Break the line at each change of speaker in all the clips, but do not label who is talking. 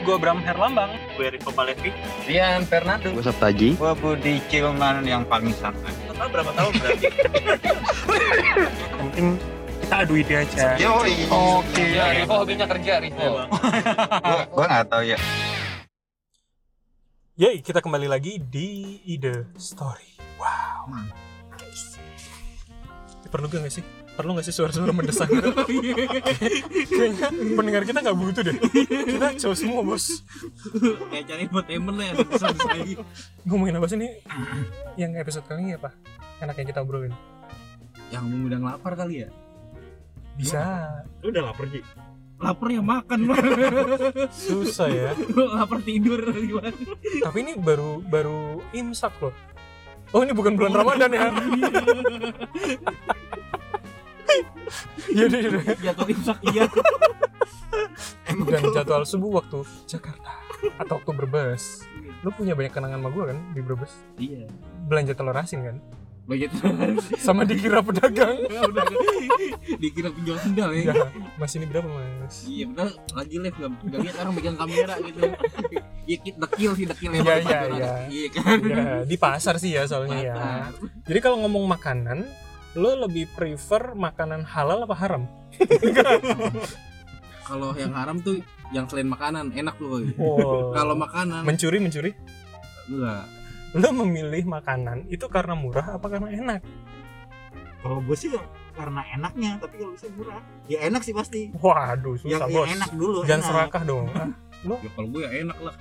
Gue Bram Herlambang. Gue Rico Palevi.
Rian Fernando.
Gue Sabtaji.
Gue Budi Cilman yang paling santai.
Total berapa tahun berarti? Mungkin kita adu ide aja.
Yoi.
Oke, ya, Rico hobinya kerja, Rico.
Gue gue nggak tahu ya.
Yoi, kita kembali lagi di Ide Story. Wow. Perlu gak nggak sih? Perlu gak sih suara-suara mendesak gitu? Kayaknya pendengar kita gak butuh deh. Kita cowok semua, bos.
kayak cari entertainment lah ya ada pesan lagi
Ngomongin apa sih nih? Yang episode kali ini apa? Enaknya kita obrolin.
yang mengundang lapar kali ya
Bisa. Lu udah lapar, Ji?
lapar ya makan Bro.
Susah ya.
lapar tidur gimana
Tapi ini baru baru imsak loh. Oh ini bukan bulan Ramadan ya? Iya deh, deh.
jatuh imsak iya
Dan jadwal subuh waktu Jakarta atau waktu Brebes. Lu punya banyak kenangan sama gue kan di Brebes?
iya
Belanja telur asin kan?
begitu
Sama dikira pedagang.
ya udah dikira penjual sendal
Ya,
ya
mas ini berapa mas?
iya benar lagi live nggak nggak lihat orang megang kamera gitu iya kit dekil sih dekil
Iya,
pakai
iya,
batu
iya.
atas. iya kan
Ya, di pasar sih ya soalnya ya.
Lapar.
Jadi kalau ngomong makanan, lo lebih prefer makanan halal apa haram?
kalau yang haram tuh yang selain makanan enak loh
Oh.
kalau makanan
mencuri mencuri
enggak
lo memilih makanan itu karena murah apa karena enak?
Kalau gue sih karena enaknya, tapi kalau bisa murah. Ya enak sih pasti.
Waduh, susah
Yang,
bos.
yang enak dulu.
Jangan
enak.
serakah dong. Ah,
ya kalau gue ya enak lah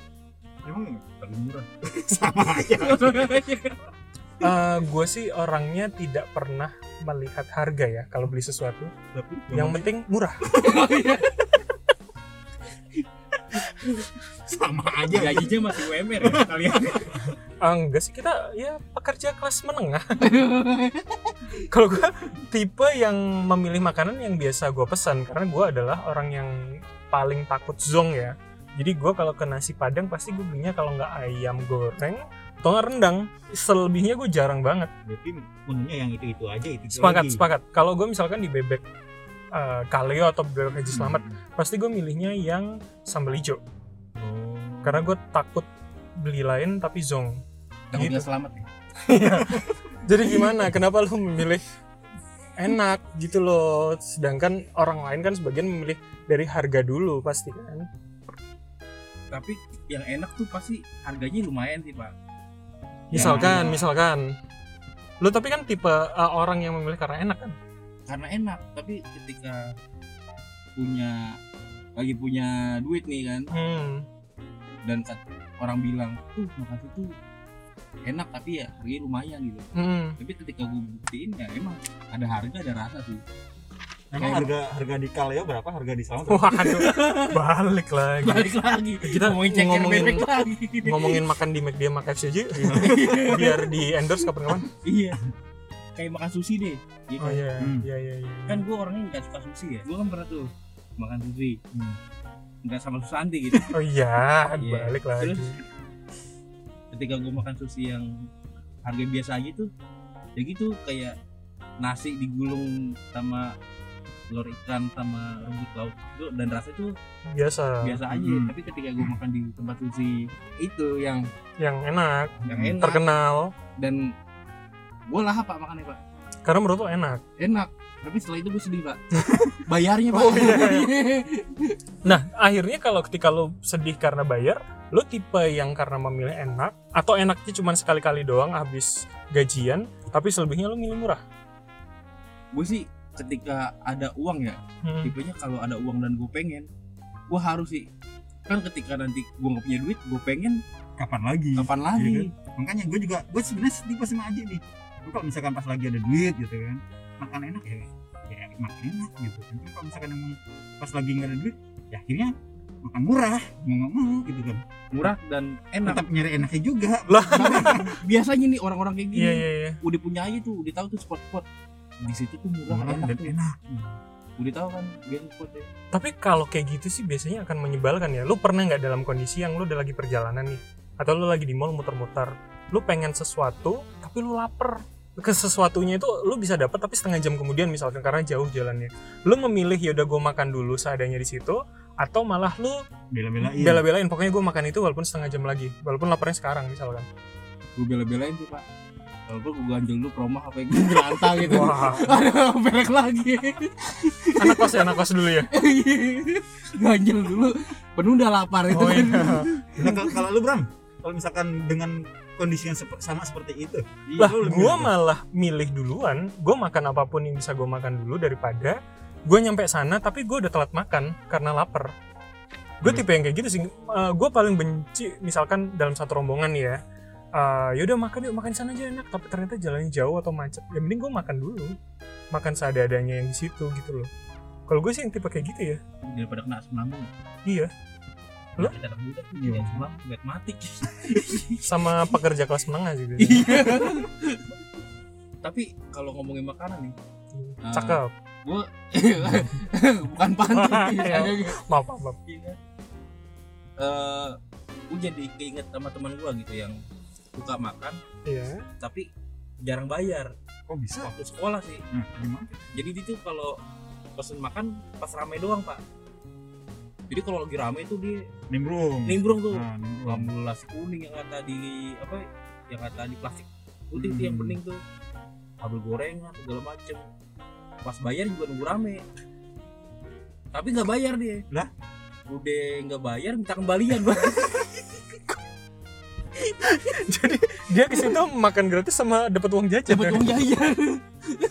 Emang ya?
kalau murah
sama aja.
eh, gue sih orangnya tidak pernah melihat harga ya kalau beli sesuatu.
tapi
Yang penting murah.
sama aja.
gajinya masih UMR ya kalian
Ah, enggak sih kita ya pekerja kelas menengah. kalau gue tipe yang memilih makanan yang biasa gue pesan karena gue adalah orang yang paling takut zong ya. Jadi gue kalau ke nasi padang pasti gue belinya kalau nggak ayam goreng atau nggak rendang. Selebihnya gue jarang banget.
Berarti menunya yang itu-itu aja itu.
sepakat sepakat kalau gue misalkan di bebek eh, kaleo atau bebek haji selamat pasti gue milihnya yang sambal hijau
Oh.
karena gue takut beli lain tapi zong
Yang
Gitu.
udah selamat ya
jadi gimana kenapa lu memilih enak gitu loh sedangkan orang lain kan sebagian memilih dari harga dulu pasti kan
tapi yang enak tuh pasti harganya lumayan sih pak Ya,
misalkan misalkan lu tapi kan tipe eh, orang yang memilih karena enak kan
karena enak tapi ketika punya lagi punya duit nih kan
hmm.
dan kat- orang bilang tuh makan itu enak tapi ya harganya lumayan gitu
hmm.
tapi ketika gue buktiin ya emang ada harga ada rasa sih
Emang
Kayak-
harga harga di Kaleo berapa? Harga di Selamat berapa?
waduh balik lagi
balik lagi
Kita
ngomongin ceker
ngomongin-
bebek lagi
ngomongin makan di McD sama KFC aja biar di endorse kapan-kapan
iya kayak makan sushi deh Iya kan?
iya
Hmm.
iya iya iya.
kan gue orangnya nggak suka sushi ya gue kan pernah tuh makan sushi
Hmm.
nggak sama Susanti gitu
oh iya
Iya.
balik lagi
Terus? ketika gue makan sushi yang harga biasa aja tuh ya gitu kayak nasi digulung sama telur ikan sama rumput laut itu dan rasanya tuh
biasa
biasa aja
Hmm.
tapi ketika gue makan di tempat sushi itu yang
yang enak
yang enak
Hmm, terkenal
dan gue lahap pak makannya pak
karena menurut lo enak
enak tapi setelah itu gue sedih pak bayarnya pak
Oh, iya. nah akhirnya kalau ketika lo sedih karena bayar lo tipe yang karena memilih enak atau enaknya cuma sekali-kali doang habis gajian tapi selebihnya lo milih murah
gue sih ketika ada uang ya
Hmm.
tipenya kalau ada uang dan gue pengen gue harus sih kan ketika nanti gue nggak punya duit gue pengen
Hmm.
Kapan lagi?
kapan lagi
kan?
Iya Makanya gue juga gue sebenarnya tipe sama aja nih. Gue kalau misalkan pas lagi ada duit gitu kan, makan enak ya ya makan enak gitu. Tapi kalau misalkan emang pas lagi nggak ada duit, ya akhirnya makan murah mau nggak mau gitu kan.
murah dan enak
Tetap nyari enaknya juga.
biasanya nih orang-orang kayak gini
iya iya iya
udah punya aja tuh udah tahu tuh spot-spot di situ tuh
Hmm,
murah
Murah
enak
dan
tuh
enak.
udah tahu kan biasa spotnya
Tapi kalau kayak gitu sih biasanya akan menyebalkan ya. Lu pernah nggak dalam kondisi yang lu udah lagi perjalanan nih, atau lu lagi di mall muter-muter, lu pengen sesuatu tapi lu lapar. Ke sesuatunya itu lu bisa dapat tapi setengah jam kemudian misalkan karena jauh jalannya. Lu memilih ya udah gue makan dulu seadanya di situ atau malah lu
bela-belain
bela-belain pokoknya gue makan itu walaupun setengah jam lagi walaupun laparnya sekarang misalkan
gue bela-belain sih pak walaupun gue ganjel dulu promo apa gue berantah gitu
wah
aduh belek lagi
anak kos ya anak kos dulu ya
ganjel dulu penuh udah lapar itu
Oh,
kan
iya.
Nah, kalau- kalau lu Bram kalau misalkan dengan kondisi yang sep- sama seperti itu
lah
lu lebih
gue
gitu.
milih-
malah milih duluan gue makan apapun yang bisa gue makan dulu daripada gue nyampe sana tapi gue udah telat makan karena lapar gue
Hmm.
tipe yang kayak gitu sih gue paling benci misalkan dalam satu rombongan ya eh, yaudah makan yuk makan di sana aja enak tapi ternyata jalannya jauh atau macet ya mending gue makan dulu makan seadanya yang di situ gitu loh kalau gue sih yang tipe kayak gitu ya
daripada kena asam lambung
Iya. Lu?
Nah, kita kan budak nih, jadi asam lambung buat mati
sama pekerja kelas menengah juga
iya tapi kalau ngomongin makanan nih eh,
cakep
bukan pantun
Iya.
Ah.
maaf maaf, maaf.
Iya. Eh, gue jadi keinget sama teman gue gitu yang suka makan
iya
tapi jarang bayar
kok bisa
waktu sekolah sih
nah, gimana?
jadi dia tuh kalau pesen makan pas ramai doang pak jadi kalau lagi ramai tuh dia
nimbrung
nimbrung tuh
nah, nimbrung
Lambul nasi kuning yang kata di apa yang kata di plastik putih tuh yang
Hmm.
bening tuh kabel gorengan segala macem pas bayar juga nunggu rame tapi nggak bayar dia
Lah?
udah nggak bayar minta kembalian bang
jadi dia ke situ makan gratis sama dapat uang jajan
dapat
ya?
uang jajan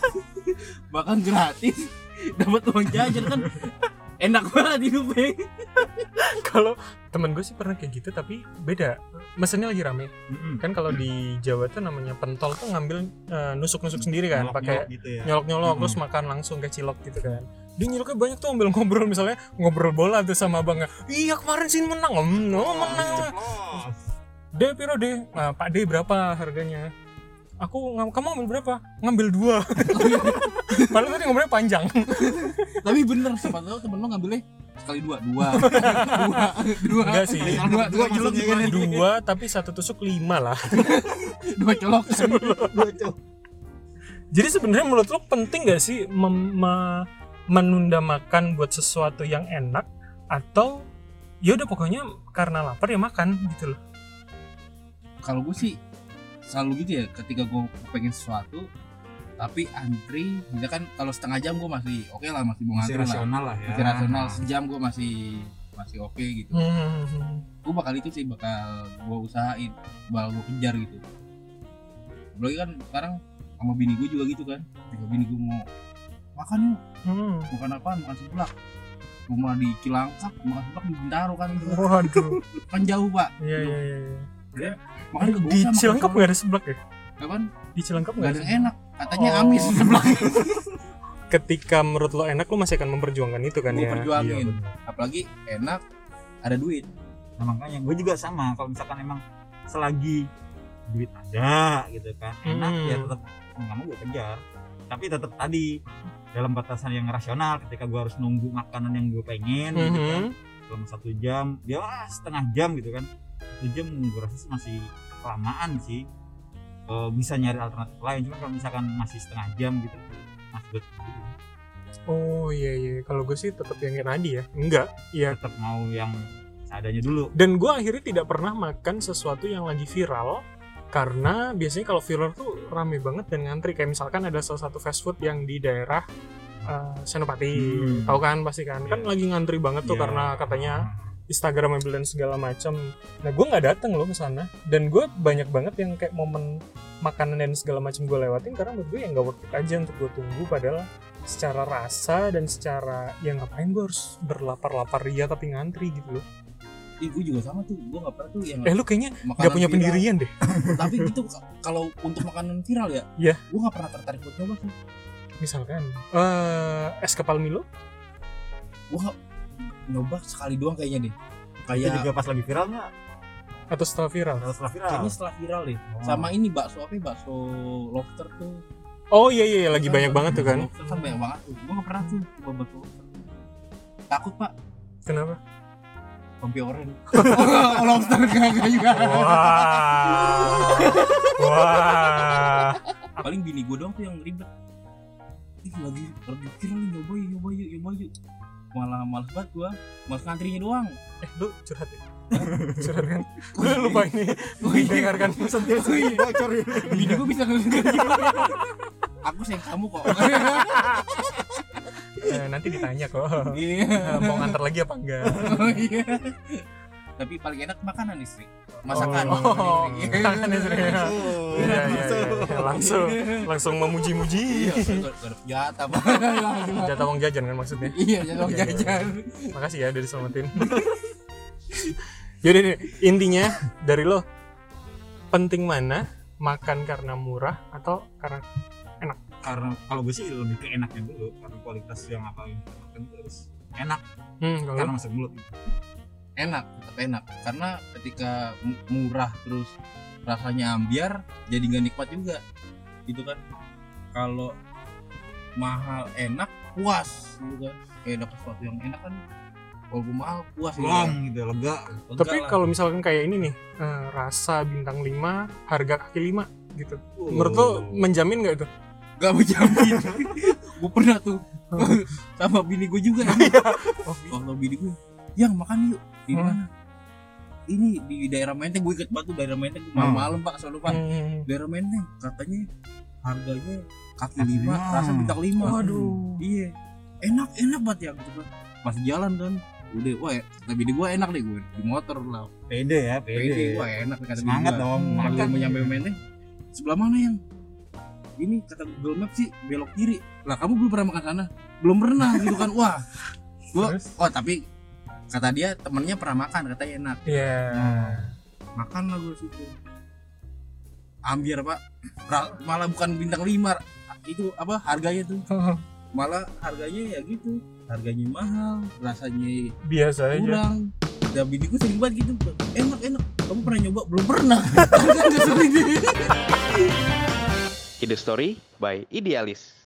bahkan gratis dapat uang jajan kan enak banget hidupnya
kalau temen gue sih pernah kayak gitu tapi beda mesennya lagi rame
Mm-mm.
kan kalau di Jawa tuh namanya pentol tuh ngambil eh, nusuk-nusuk sendiri kan
Nyolok-nyolok
pakai
gitu ya
nyolok-nyolok
Mm-mm.
terus makan langsung kayak cilok gitu kan dia nyoloknya banyak tuh ambil ngobrol misalnya ngobrol bola tuh sama abangnya iya kemarin sih menang om oh,
gitu.
menang
Ceplos.
deh piro deh nah, pak deh berapa harganya aku ngam- kamu ambil berapa ngambil dua padahal tadi ngobrolnya panjang
tapi bener siapa tahu temen lo ngambilnya sekali dua dua dua dua
Enggak sih.
dua dua colok
Maksudnya kan
dua tapi satu tusuk lima lah
dua colok
Dua cowok.
Jadi sebenarnya menurut lo penting gak sih mem- me- menunda makan buat sesuatu yang enak atau ya udah pokoknya karena lapar ya makan gitu loh.
kalau gue sih selalu gitu ya ketika gue pengen sesuatu tapi antri misalkan kalau setengah jam gue masih oke lah masih mau
Masih
ngantri lah
rasional lah ya
masih rasional sejam gue masih masih oke gitu gue bakal itu sih bakal gue usahain bakal gue kejar gitu belum kan sekarang sama bini gue juga gitu kan ketika bini gue mau makan yuk
Hmm.
makan apaan makan seblak rumah di Cilangkap makan seblak di Bintaro kan gitu.
Waduh.
kan jauh pak
Iya iya iya. iya.
makan ke
Di Cilengkap nggak ada seblak ya?
kan
Di Cilengkap
nggak
nggak
ada
ada.
yang enak katanya
Oh.
amis seblak
Ketika menurut lo enak lo masih akan memperjuangkan itu kan
Gua
ya.
perjuangin.
Iya, bener.
apalagi enak ada duit
Nah, makanya gue juga sama kalau misalkan emang selagi duit ada gitu kan enak
Hmm.
ya tetap mau nggak mau gue kejar tapi tetap tadi dalam batasan yang rasional ketika gue harus nunggu makanan yang gue pengen gitu
Mhm.
kan selama satu jam ya ah, setengah jam gitu kan satu jam gue rasa sih masih kelamaan sih E, bisa nyari alternatif lain cuma kalau misalkan masih setengah jam gitu masih gue
Oh iya iya. Kalau gue sih tetap yang kayak tadi ya. Enggak. Iya.
tetap mau yang seadanya dulu
dan gue akhirnya tidak pernah makan sesuatu yang lagi viral karena biasanya kalau viral tuh rame banget dan ngantri kayak misalkan ada salah satu fast food yang di daerah eh, Senopati
Hmm.
tahu kan pasti kan kan
Iya.
lagi ngantri banget tuh
Ya.
karena katanya Instagramable dan segala macam nah gue nggak datang loh ke sana dan gue banyak banget yang kayak momen makanan dan segala macam gue lewatin karena menurut gue yang nggak worth it aja untuk gue tunggu padahal secara rasa dan secara ya ngapain gue harus berlapar-lapar ria tapi ngantri gitu loh
Ih, gue juga sama tuh gue gak pernah tuh
Hmm.
eh
yang
lu kayaknya
makanan
Gak punya
viral.
pendirian deh.
tapi gitu k- kalau untuk makanan viral ya
Iya.
gue gak pernah tertarik buat nyoba sih
Misalkan eh es kepal Milo.
gue nyoba sekali doang kayaknya deh
itu
ya.
kayak
juga pas lagi viralnya
atau setelah viral.
kalau setelah viral
kayaknya setelah viral deh
Oh.
sama ini bakso apa ya, bakso lobster tuh
Oh iya iya lagi banyak banget tuh kan.
lobster kan banyak banget tuh gue gak pernah tuh coba bakso lobster takut pak
Kenapa?
rompi oren oh, lobster gak gak juga
Wah. Wah.
paling bini gue doang tuh yang ribet Ih, lagi lagi viral nih, nyoba yuk nyoba yuk nyoba yuk malah malas banget gua malas ngantrinya doang
eh lu curhat ya curhat kan lu lupa ini mendengarkan
Sih,
Eh,
bocor ya.
bini gua bisa ngeliat aku sayang kamu kok
Eh, nanti ditanya kok
iya
Eh, mau ngantar lagi apa enggak
Oh, iya. tapi paling enak makanan istri masakan
oh,
Iya.
tangan ya Sri. Iya, iya, iya, iya. langsung langsung memuji-muji
iya gua- gua ada senjata Pak.
jatah uang jajan kan maksudnya
iya jangan
Iya, iya.
jajan
makasih ya dari selamatin jadi nih, intinya dari lo penting mana makan karena murah atau karena
Karena kalau gue sih lebih ke enaknya dulu karena kualitas yang apa yang kita makan itu harus enak
hmm, kalau
karena masuk mulut.
enak tetap enak karena ketika mu- murah terus rasanya ambiar jadi nggak nikmat juga gitu kan kalau mahal enak puas gitu kan kayak dapet sesuatu yang enak kan walaupun mahal puas gitu kan.
Long gitu lega.
Lega
tapi
lah.
kalau misalkan kayak ini nih eh, rasa bintang 5 harga kaki 5 gitu
Oh.
menurut lo menjamin nggak itu
Gak menjamin Gue pernah tuh Sama bini gue juga Oh kalau bini gue Yang makan yuk Di
Hmm.
mana? Ini di daerah Menteng Gue inget banget tuh daerah Menteng Gua Malam-malam pak selalu pak
Hmm.
Daerah Menteng Katanya harganya
Kaki
kaki lima
lima.
Rasa bintang lima
waduh
Iya Enak enak banget ya gitu kan Pas jalan kan Udah wah ya, kata bini gue enak deh gue Di motor lah
Pede ya,
Pede
pede.
wah enak nih kata bini
Semangat
gua.
dong.
Hmm.
Sambil
makan.
mau nyampe mainnya sebelah mana yang ini kata Google Maps sih belok kiri lah kamu belum pernah makan sana belum pernah gitu kan wah gua
Terus?
oh tapi kata dia temennya pernah makan katanya Nah, enak
Iya.
Nah.
makan lah gua situ ambiar pak Ra- malah bukan bintang lima itu apa harganya tuh malah harganya ya gitu harganya mahal rasanya
iya. biasa aja
kurang dan bini gue sering banget gitu enak enak kamu pernah nyoba belum pernah Kan nggak sering.
Ide Story by Idealis.